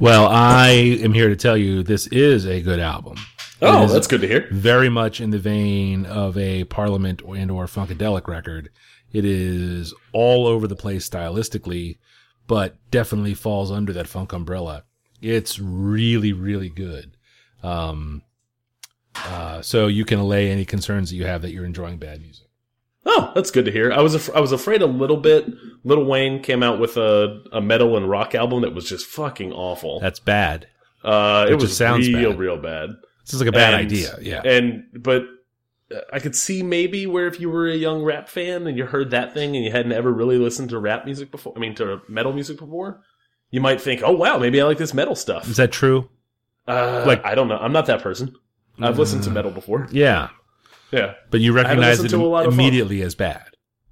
Speaker 4: well, I am here to tell you this is a good album.
Speaker 5: Oh,
Speaker 4: is-
Speaker 5: that's good to hear.
Speaker 4: Very much in the vein of a Parliament and or Funkadelic record. It is all over the place stylistically, but definitely falls under that funk umbrella. It's really, really good. Um, uh, so you can allay any concerns that you have that you're enjoying bad music.
Speaker 5: Oh, that's good to hear. I was af I was afraid a little bit. Little Wayne came out with a, a metal and rock album that was just fucking awful.
Speaker 4: That's bad.
Speaker 5: Uh, it
Speaker 4: which
Speaker 5: was
Speaker 4: just sounds
Speaker 5: real,
Speaker 4: bad.
Speaker 5: real bad.
Speaker 4: This is like a bad
Speaker 5: And-
Speaker 4: idea. Yeah.
Speaker 5: And but uh, I could see maybe where if you were a young rap fan and you heard that thing and you hadn't ever really listened to rap music before, I mean to metal music before, you might think, "Oh wow, maybe I like this metal stuff."
Speaker 4: is that true?
Speaker 5: uh,
Speaker 4: like- Mm.
Speaker 5: like I don't know, I'm not that person. I've listened to metal before.
Speaker 4: Yeah.
Speaker 5: Yeah.
Speaker 4: But you recognize
Speaker 5: listened
Speaker 4: it
Speaker 5: to a lot of funk.
Speaker 4: immediately as bad.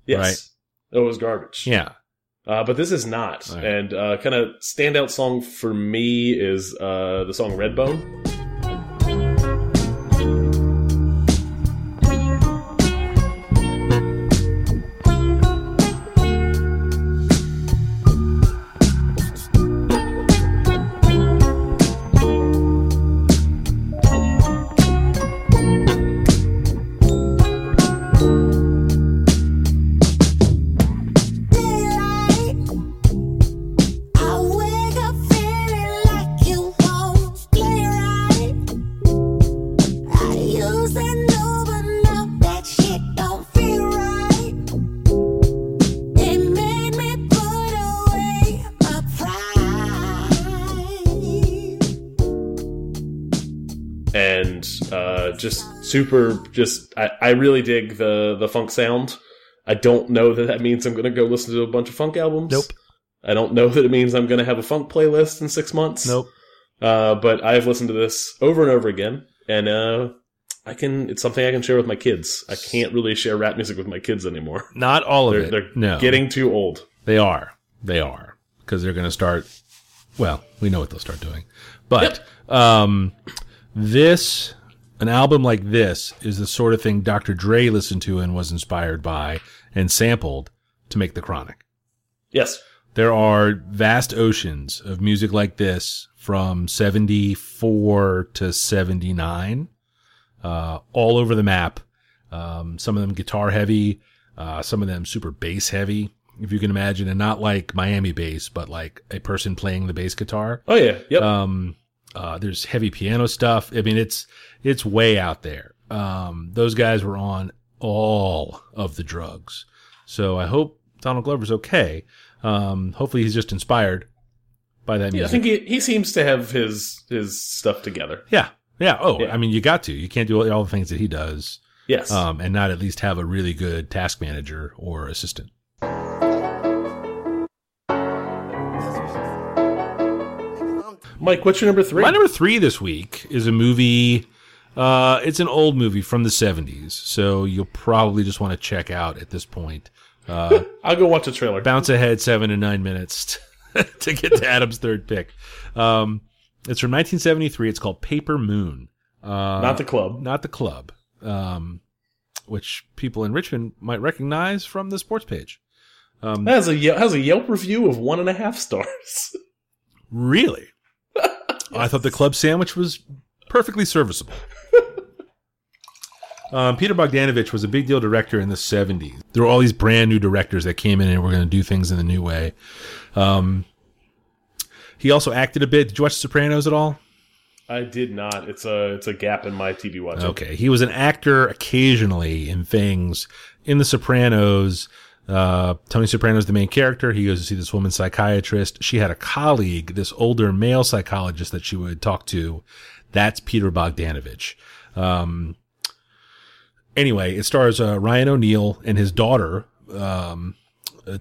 Speaker 5: Yes. It was garbage.
Speaker 4: Yeah.
Speaker 5: Uh, but this is not.
Speaker 4: All right.
Speaker 5: And uh, kind of standout song for me is uh, the song Redbone. and uh, just super. Just I, I really dig the the funk sound. I don't know that that means I'm going to go listen to a bunch of funk albums.
Speaker 4: Nope.
Speaker 5: I don't know that it means I'm going to have a funk playlist in six months.
Speaker 4: Nope.
Speaker 5: Uh, but I've listened to this over and over again, and uh, I can. It's something I can share with my kids. I can't really share rap music with my kids anymore.
Speaker 4: Not all of
Speaker 5: They're,
Speaker 4: it.
Speaker 5: they're
Speaker 4: no.
Speaker 5: getting too old.
Speaker 4: They are. They are. Because they're going to start. Well, we know what they'll start doing. But um, this an album like this is the sort of thing Dr. Dre listened to and was inspired by and sampled to make The Chronic.
Speaker 5: Yes.
Speaker 4: There are vast oceans of music like this from 74 to 79, uh, all over the map. Um, some of them guitar heavy, uh, some of them super bass heavy, if you can imagine, and not like Miami bass, but like a person playing the bass guitar.
Speaker 5: Oh yeah. Yep.
Speaker 4: Um, uh, there's heavy piano stuff. I mean, it's it's way out there. Um, those guys were on all of the drugs, so I hope Donald Glover's okay. Um, hopefully, he's just inspired by that
Speaker 5: yeah, I
Speaker 4: music.
Speaker 5: think he, he seems to have his his stuff together.
Speaker 4: yeah, yeah. Oh,
Speaker 5: Yeah.
Speaker 4: I mean, you got to. You can't do all- all the things that he does,
Speaker 5: Yes.
Speaker 4: um, and not at least have a really good task manager or assistant.
Speaker 5: Mike, what's your number three?
Speaker 4: My number three this week is a movie. Uh, it's an old movie from the 70s, so you'll probably just want to check out at this point.
Speaker 5: I'll go watch a trailer.
Speaker 4: bounce ahead seven to nine minutes *laughs* t- to get to Adam's third pick. Um, it's from 1973. It's called Paper Moon,
Speaker 5: Not the club.
Speaker 4: not the club, um, which people in Richmond might recognize from the sports page.
Speaker 5: That has a Yelp, has a Yelp review of one and a half stars. *laughs*
Speaker 4: Really? I thought the club sandwich was perfectly serviceable. um, Peter Bogdanovich was a big deal director in the 70s. There were all these brand new directors that came in and were going to do things in the new way. Um, he also acted a bit. Did you watch The Sopranos at all?
Speaker 5: I did not. It's a it's a gap in my TV watching.
Speaker 4: Okay. He was an actor occasionally in things. In The Sopranos, uh, Tony Soprano's the main character. He goes to see this woman psychiatrist. She had a colleague, this older male psychologist that she would talk to. That's Peter Bogdanovich. Um, anyway, it stars uh, Ryan O'Neal and his daughter, um,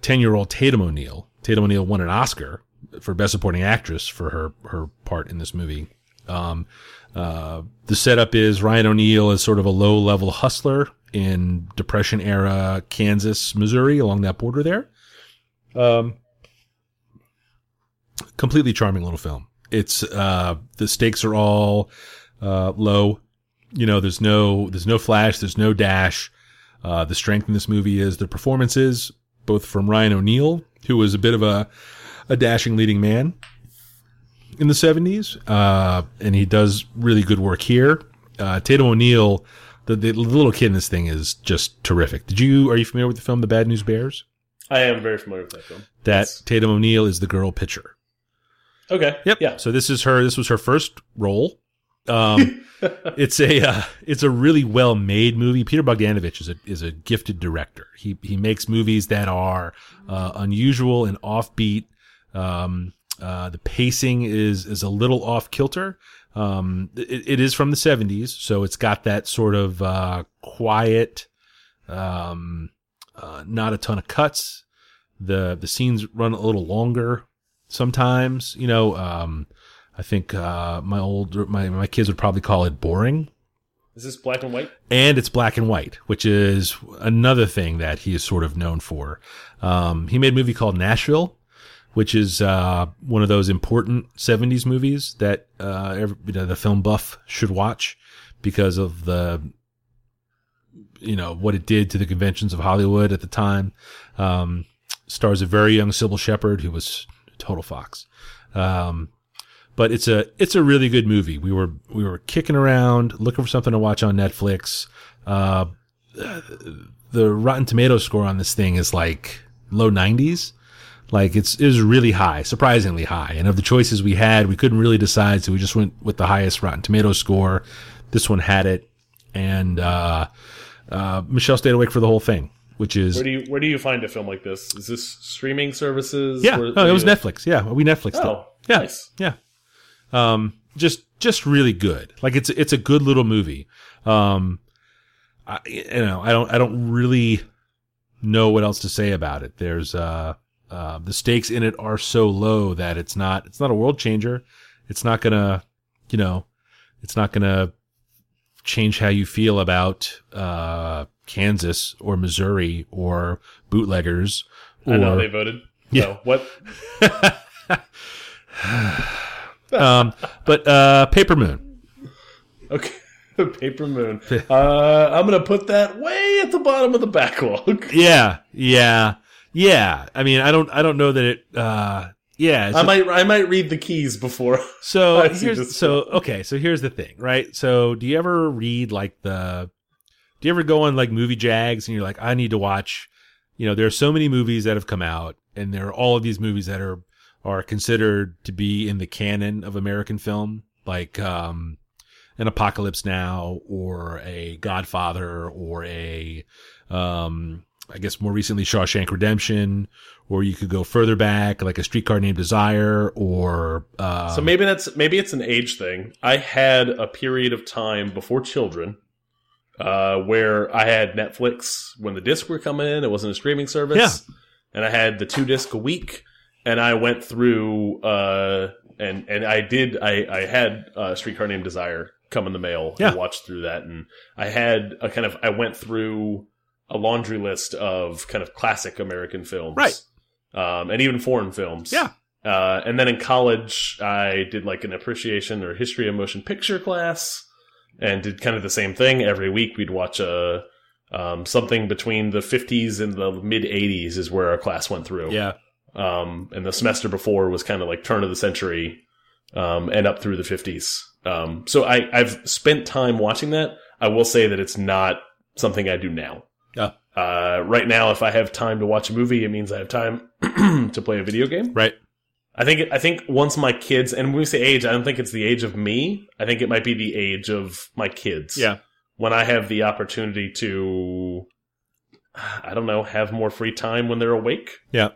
Speaker 4: 10 year old Tatum O'Neal. Tatum O'Neal won an Oscar for Best Supporting Actress for her, her part in this movie. Um, uh, the setup is Ryan O'Neal is sort of a low level hustler in Depression era Kansas, Missouri, along that border there. Um, completely charming little film. It's uh, the stakes are all uh, low. You know, there's no there's no flash, there's no dash. Uh, the strength in this movie is the performances, both from Ryan O'Neal, who was a bit of a a dashing leading man, in the 70s, uh, and he does really good work here. Uh, Tatum O'Neill, the, the little kid in this thing is just terrific. Did you are you familiar with the film The Bad News Bears?
Speaker 5: I am very familiar with that film.
Speaker 4: That
Speaker 5: Yes.
Speaker 4: Tatum O'Neill is the girl pitcher.
Speaker 5: Okay. Yeah.
Speaker 4: So this is her. This was her first role. Um, it's a uh, it's a really well made movie. Peter Bogdanovich is a is a gifted director. He he makes movies that are uh, unusual and offbeat. Um, uh, the pacing is is a little off kilter. Um, it, it is from the '70s, so it's got that sort of uh, quiet, um, uh, not a ton of cuts. the The scenes run a little longer sometimes. You know, um, I think uh, my old my my kids would probably call it boring
Speaker 5: Is this black and white?
Speaker 4: and it's black and white, which is another thing that he is sort of known for. Um, he made a movie called Nashville, which is uh, one of those important '70s movies that uh, every, you know, the film buff should watch because of the you know what it did to the conventions of Hollywood at the time. Um, stars a very young Sybil Shepherd, who was a total fox. Um, but it's a it's a really good movie. We were we were kicking around looking for something to watch on Netflix. Uh, the Rotten Tomato score on this thing is like low 90s. Like it's it was really high, surprisingly high. And of the choices we had, we couldn't really decide, so we just went with the highest Rotten Tomato score. This one had it, and uh, uh, Michelle stayed awake for the whole thing, which is
Speaker 5: Where do you where do you find a film like this? Is this streaming services?
Speaker 4: yeah.
Speaker 5: Where-
Speaker 4: no,
Speaker 5: where
Speaker 4: it was
Speaker 5: do you-
Speaker 4: Netflix. Yeah, we Netflixed
Speaker 5: Oh,
Speaker 4: it. Yeah,
Speaker 5: nice.
Speaker 4: yeah. Um, just just really good. Like it's it's a good little movie. Um, I, you know, I don't I don't really know what else to say about it. There's uh, uh, the stakes in it are so low that it's not it's not a world changer. It's not gonna, you know, it's not gonna change how you feel about uh, Kansas or Missouri or bootleggers. Or,
Speaker 5: I know they
Speaker 4: *laughs*
Speaker 5: voted. Yeah. what?
Speaker 4: um, but uh, Paper Moon.
Speaker 5: Okay. *laughs* Paper Moon. Uh, I'm gonna put that way at the bottom of the backlog.
Speaker 4: Yeah, yeah, yeah. I mean, I don't, I don't know that it. Uh, yeah, it's
Speaker 5: I
Speaker 4: a-
Speaker 5: might I might read the keys before. *laughs* I
Speaker 4: So
Speaker 5: see this.
Speaker 4: here's so okay. So here's the thing, right? So do you ever read like the? Do you ever go on like movie jags and you're like, I need to watch. You know, there are so many movies that have come out, and there are all of these movies that are are considered to be in the canon of American film, like um, an Apocalypse Now or a Godfather or a um, I guess more recently Shawshank Redemption, or you could go further back like a Streetcar Named Desire or uh,
Speaker 5: So maybe that's maybe it's an age thing. I had a period of time before children uh, where I had Netflix when the discs were coming in. It wasn't a streaming service.
Speaker 4: Yeah.
Speaker 5: And I had the two disc a week, and I went through uh, and and I did I I had uh, Streetcar Named Desire come in the mail
Speaker 4: Yeah.
Speaker 5: and watched through that, and I had a kind of I went through a laundry list of kind of classic American films,
Speaker 4: Right.
Speaker 5: Um, and even foreign films,
Speaker 4: Yeah.
Speaker 5: uh, and then in college, I did like an appreciation or history of motion picture class, and did kind of the same thing every week. We'd watch a um, something between the '50s and the mid '80s is where our class went through.
Speaker 4: yeah.
Speaker 5: Um, and the semester before was kind of like turn of the century, um, and up through the '50s. Um, so I, I've spent time watching that. I will say that it's not something I do now.
Speaker 4: Yeah.
Speaker 5: Uh, right now, if I have time to watch a movie, it means I have time *clears throat* to play a video game.
Speaker 4: Right.
Speaker 5: I think I think once my kids and when we say age, I don't think it's the age of me. I think it might be the age of my kids.
Speaker 4: Yeah.
Speaker 5: When I have the opportunity to I don't know, have more free time when they're awake.
Speaker 4: Yeah.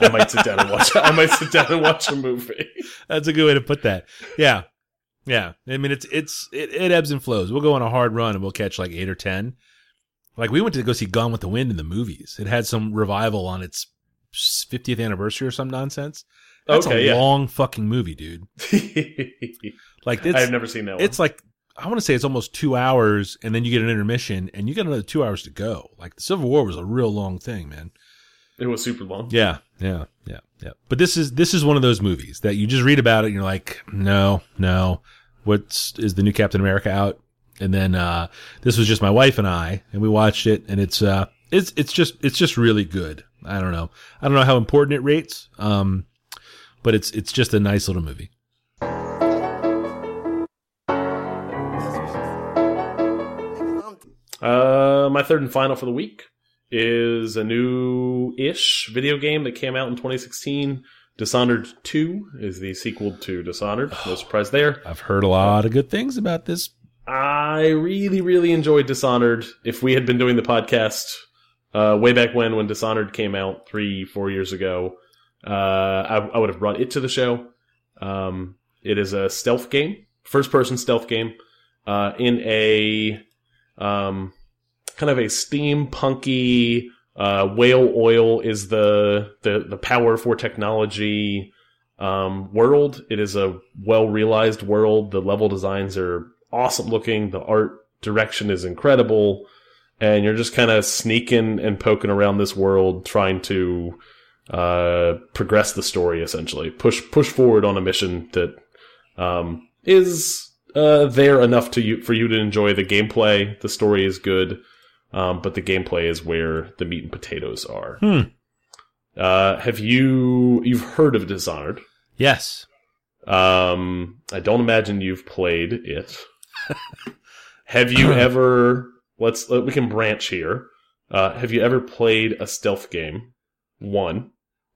Speaker 5: I might sit down and watch I might sit down and watch a movie.
Speaker 4: That's a good way to put that. Yeah. Yeah. I mean it's it's it, it ebbs and flows. We'll go on a hard run and we'll catch like 8 or 10. Like we went to go see Gone with the Wind in the movies. It had some revival on its 50th anniversary or some nonsense. That's
Speaker 5: Okay,
Speaker 4: a
Speaker 5: yeah.
Speaker 4: long fucking movie, dude. Like it's
Speaker 5: I've never seen that one.
Speaker 4: it's like I want to say it's almost 2 hours and then you get an intermission and you got another 2 hours to go. Like the Civil War was a real long thing, man.
Speaker 5: it was super long.
Speaker 4: Yeah, yeah, yeah, yeah. But this is this is one of those movies that you just read about it and you're like, no, no. What's is the new Captain America out? And then uh this was just my wife and I and we watched it and it's uh it's it's just it's just really good. I don't know. I don't know how important it rates. Um but it's it's just a nice little movie.
Speaker 5: Uh, my third and final for the week is a new-ish video game that came out in 2016. Dishonored 2 is the sequel to Dishonored. No surprise there.
Speaker 4: I've heard a lot of good things about this.
Speaker 5: I really, really enjoyed Dishonored. If we had been doing the podcast uh, way back when, when Dishonored came out three, four years ago, uh, I, I would have brought it to the show. Um, it is a stealth game, first-person stealth game, uh, in a um, kind of a steampunky uh, whale oil is the the the power for technology um, world. It is a well realized world. The level designs are awesome looking. The art direction is incredible, and you're just kind of sneaking and poking around this world, trying to uh, progress the story. Essentially, push push forward on a mission that um, is uh, there enough to you for you to enjoy the gameplay. The story is good, um, but the gameplay is where the meat and potatoes are.
Speaker 4: Hmm.
Speaker 5: Uh, have you you've heard of Dishonored?
Speaker 4: Yes.
Speaker 5: Um, I don't imagine you've played it. have you ever? Let's let, we can branch here. Uh, have you ever played a stealth game? One.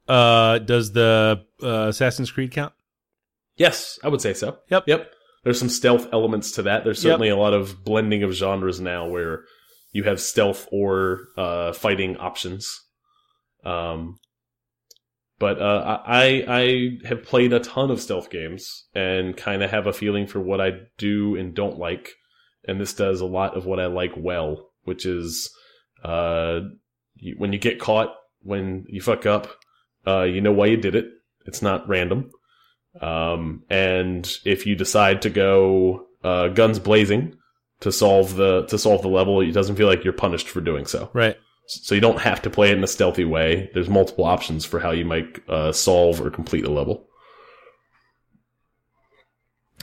Speaker 4: Uh does the uh, Assassin's Creed count?
Speaker 5: Yes, I would say so.
Speaker 4: Yep.
Speaker 5: Yep. There's some stealth elements to that. There's
Speaker 4: Yep.
Speaker 5: certainly a lot of blending of genres now where you have stealth or uh, fighting options. Um, but uh, I I I have played a ton of stealth games and kind of have a feeling for what I do and don't like, and this does a lot of what I like well, which is uh, you, when you get caught, when you fuck up, uh, you know why you did it. It's not random. Um, and if you decide to go uh, guns blazing to solve the to solve the level, it doesn't feel like you're punished for doing so.
Speaker 4: Right.
Speaker 5: So you don't have to play it in a stealthy way. There's multiple options for how you might uh, solve or complete a level.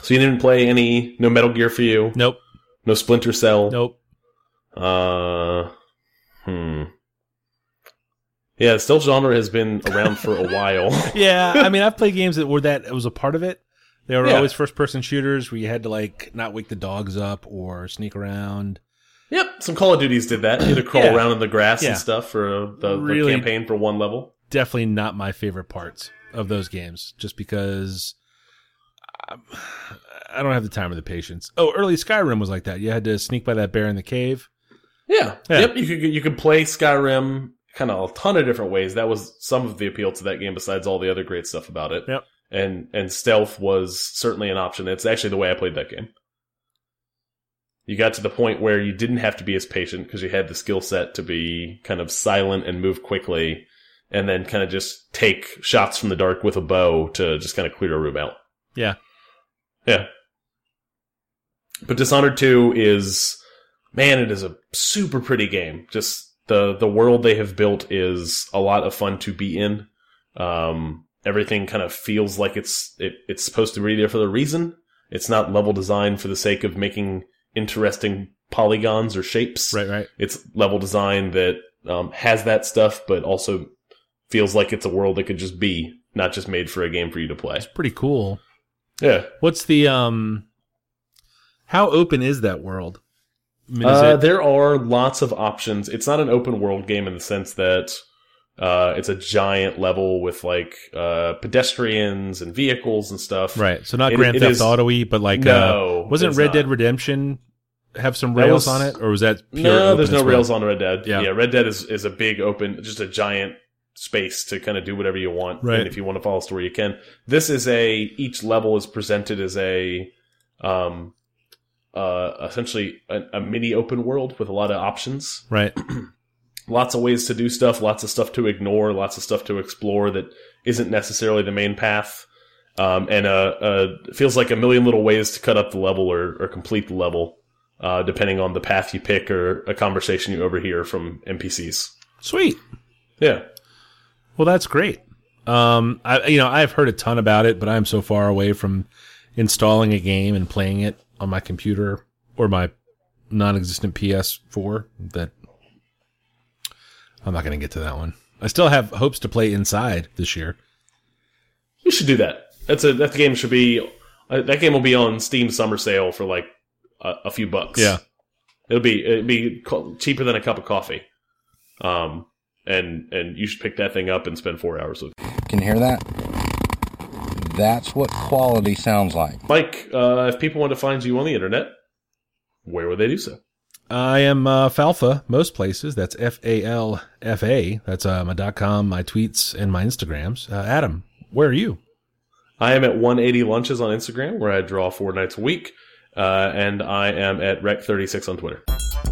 Speaker 5: So you didn't play any no Metal Gear for you,
Speaker 4: Nope.
Speaker 5: No Splinter Cell.
Speaker 4: Nope.
Speaker 5: Uh, hmm. Yeah, the stealth genre has been around for a
Speaker 4: *laughs*
Speaker 5: while.
Speaker 4: Yeah, I mean, I've played games that were that was a part of it. They were
Speaker 5: Yeah.
Speaker 4: always first-person shooters where you had to like not wake the dogs up or sneak around.
Speaker 5: yep, some Call of Duties did that. You had to crawl
Speaker 4: Yeah.
Speaker 5: around in the grass
Speaker 4: Yeah.
Speaker 5: and stuff for uh, the,
Speaker 4: Really-
Speaker 5: the campaign for one level.
Speaker 4: Definitely not my favorite parts of those games, just because I, I don't have the time or the patience. Oh, early Skyrim was like that. You had to sneak by that bear in the cave.
Speaker 5: Yeah.
Speaker 4: Yeah.
Speaker 5: Yep. You could you could play Skyrim kind of a ton of different ways. That was some of the appeal to that game, besides all the other great stuff about it.
Speaker 4: Yep.
Speaker 5: And and stealth was certainly an option. It's actually the way I played that game. You got to the point where you didn't have to be as patient because you had the skill set to be kind of silent and move quickly, and then kind of just take shots from the dark with a bow to just kind of clear a room out.
Speaker 4: Yeah.
Speaker 5: Yeah. But Dishonored 2 is man, it is a super pretty game. Just the the world they have built is a lot of fun to be in. Um, everything kind of feels like it's it, it's supposed to be there for the reason. It's not level design for the sake of making interesting polygons or shapes.
Speaker 4: Right, right.
Speaker 5: It's level design that um, has that stuff, but also feels like it's a world that could just be, not just made for a game for you to play.
Speaker 4: Pretty cool.
Speaker 5: Yeah.
Speaker 4: What's the um? How open is that world? I mean, is
Speaker 5: Uh,
Speaker 4: it,
Speaker 5: there are lots of options. It's not an open world game in the sense that uh, it's a giant level with like uh, pedestrians and vehicles and stuff.
Speaker 4: right. So not
Speaker 5: it-
Speaker 4: Grand
Speaker 5: it
Speaker 4: Theft
Speaker 5: is-
Speaker 4: Auto-y, but like
Speaker 5: No,
Speaker 4: uh, wasn't
Speaker 5: it's
Speaker 4: Red
Speaker 5: not.
Speaker 4: Dead Redemption have some
Speaker 5: That
Speaker 4: rails
Speaker 5: was-
Speaker 4: on it, or was that pure
Speaker 5: no,
Speaker 4: open
Speaker 5: there's no
Speaker 4: as well?
Speaker 5: rails on Red Dead.
Speaker 4: Yeah.
Speaker 5: Yeah. Red Dead is, is a big open, just a giant space to kind of do whatever you want.
Speaker 4: Right.
Speaker 5: And if you want to follow a story, you can. This is a each level is presented as a um uh essentially a, a mini open world with a lot of options.
Speaker 4: Right.
Speaker 5: lots of ways to do stuff, lots of stuff to ignore, lots of stuff to explore that isn't necessarily the main path. Um, and uh, uh, it feels like a million little ways to cut up the level or, or complete the level, uh, depending on the path you pick or a conversation you overhear from NPCs.
Speaker 4: Sweet.
Speaker 5: Yeah,
Speaker 4: Well, that's great. Um, I you know I've heard a ton about it, but I'm so far away from installing a game and playing it on my computer or my non-existent PS4 that I'm not going to get to that one. I still have hopes to play Inside this year.
Speaker 5: you should do that. That's a that game should be uh, that game will be on Steam summer sale for like a, a few bucks.
Speaker 4: Yeah.
Speaker 5: it'll be it'd be co- cheaper than a cup of coffee. Um, and and you should pick that thing up and spend four hours with. it.
Speaker 8: Can you hear that? That's what quality sounds like.
Speaker 5: Mike, uh, if people want to find you on the internet, where would they do so?
Speaker 4: I am uh, Falfa most places. That's F A L F A. That's uh, my dot com, my tweets, and my Instagrams. Uh, Adam, where are you?
Speaker 5: I am at 180 Lunches on Instagram, where I draw four nights a week, uh, and I am at Rec36 on Twitter.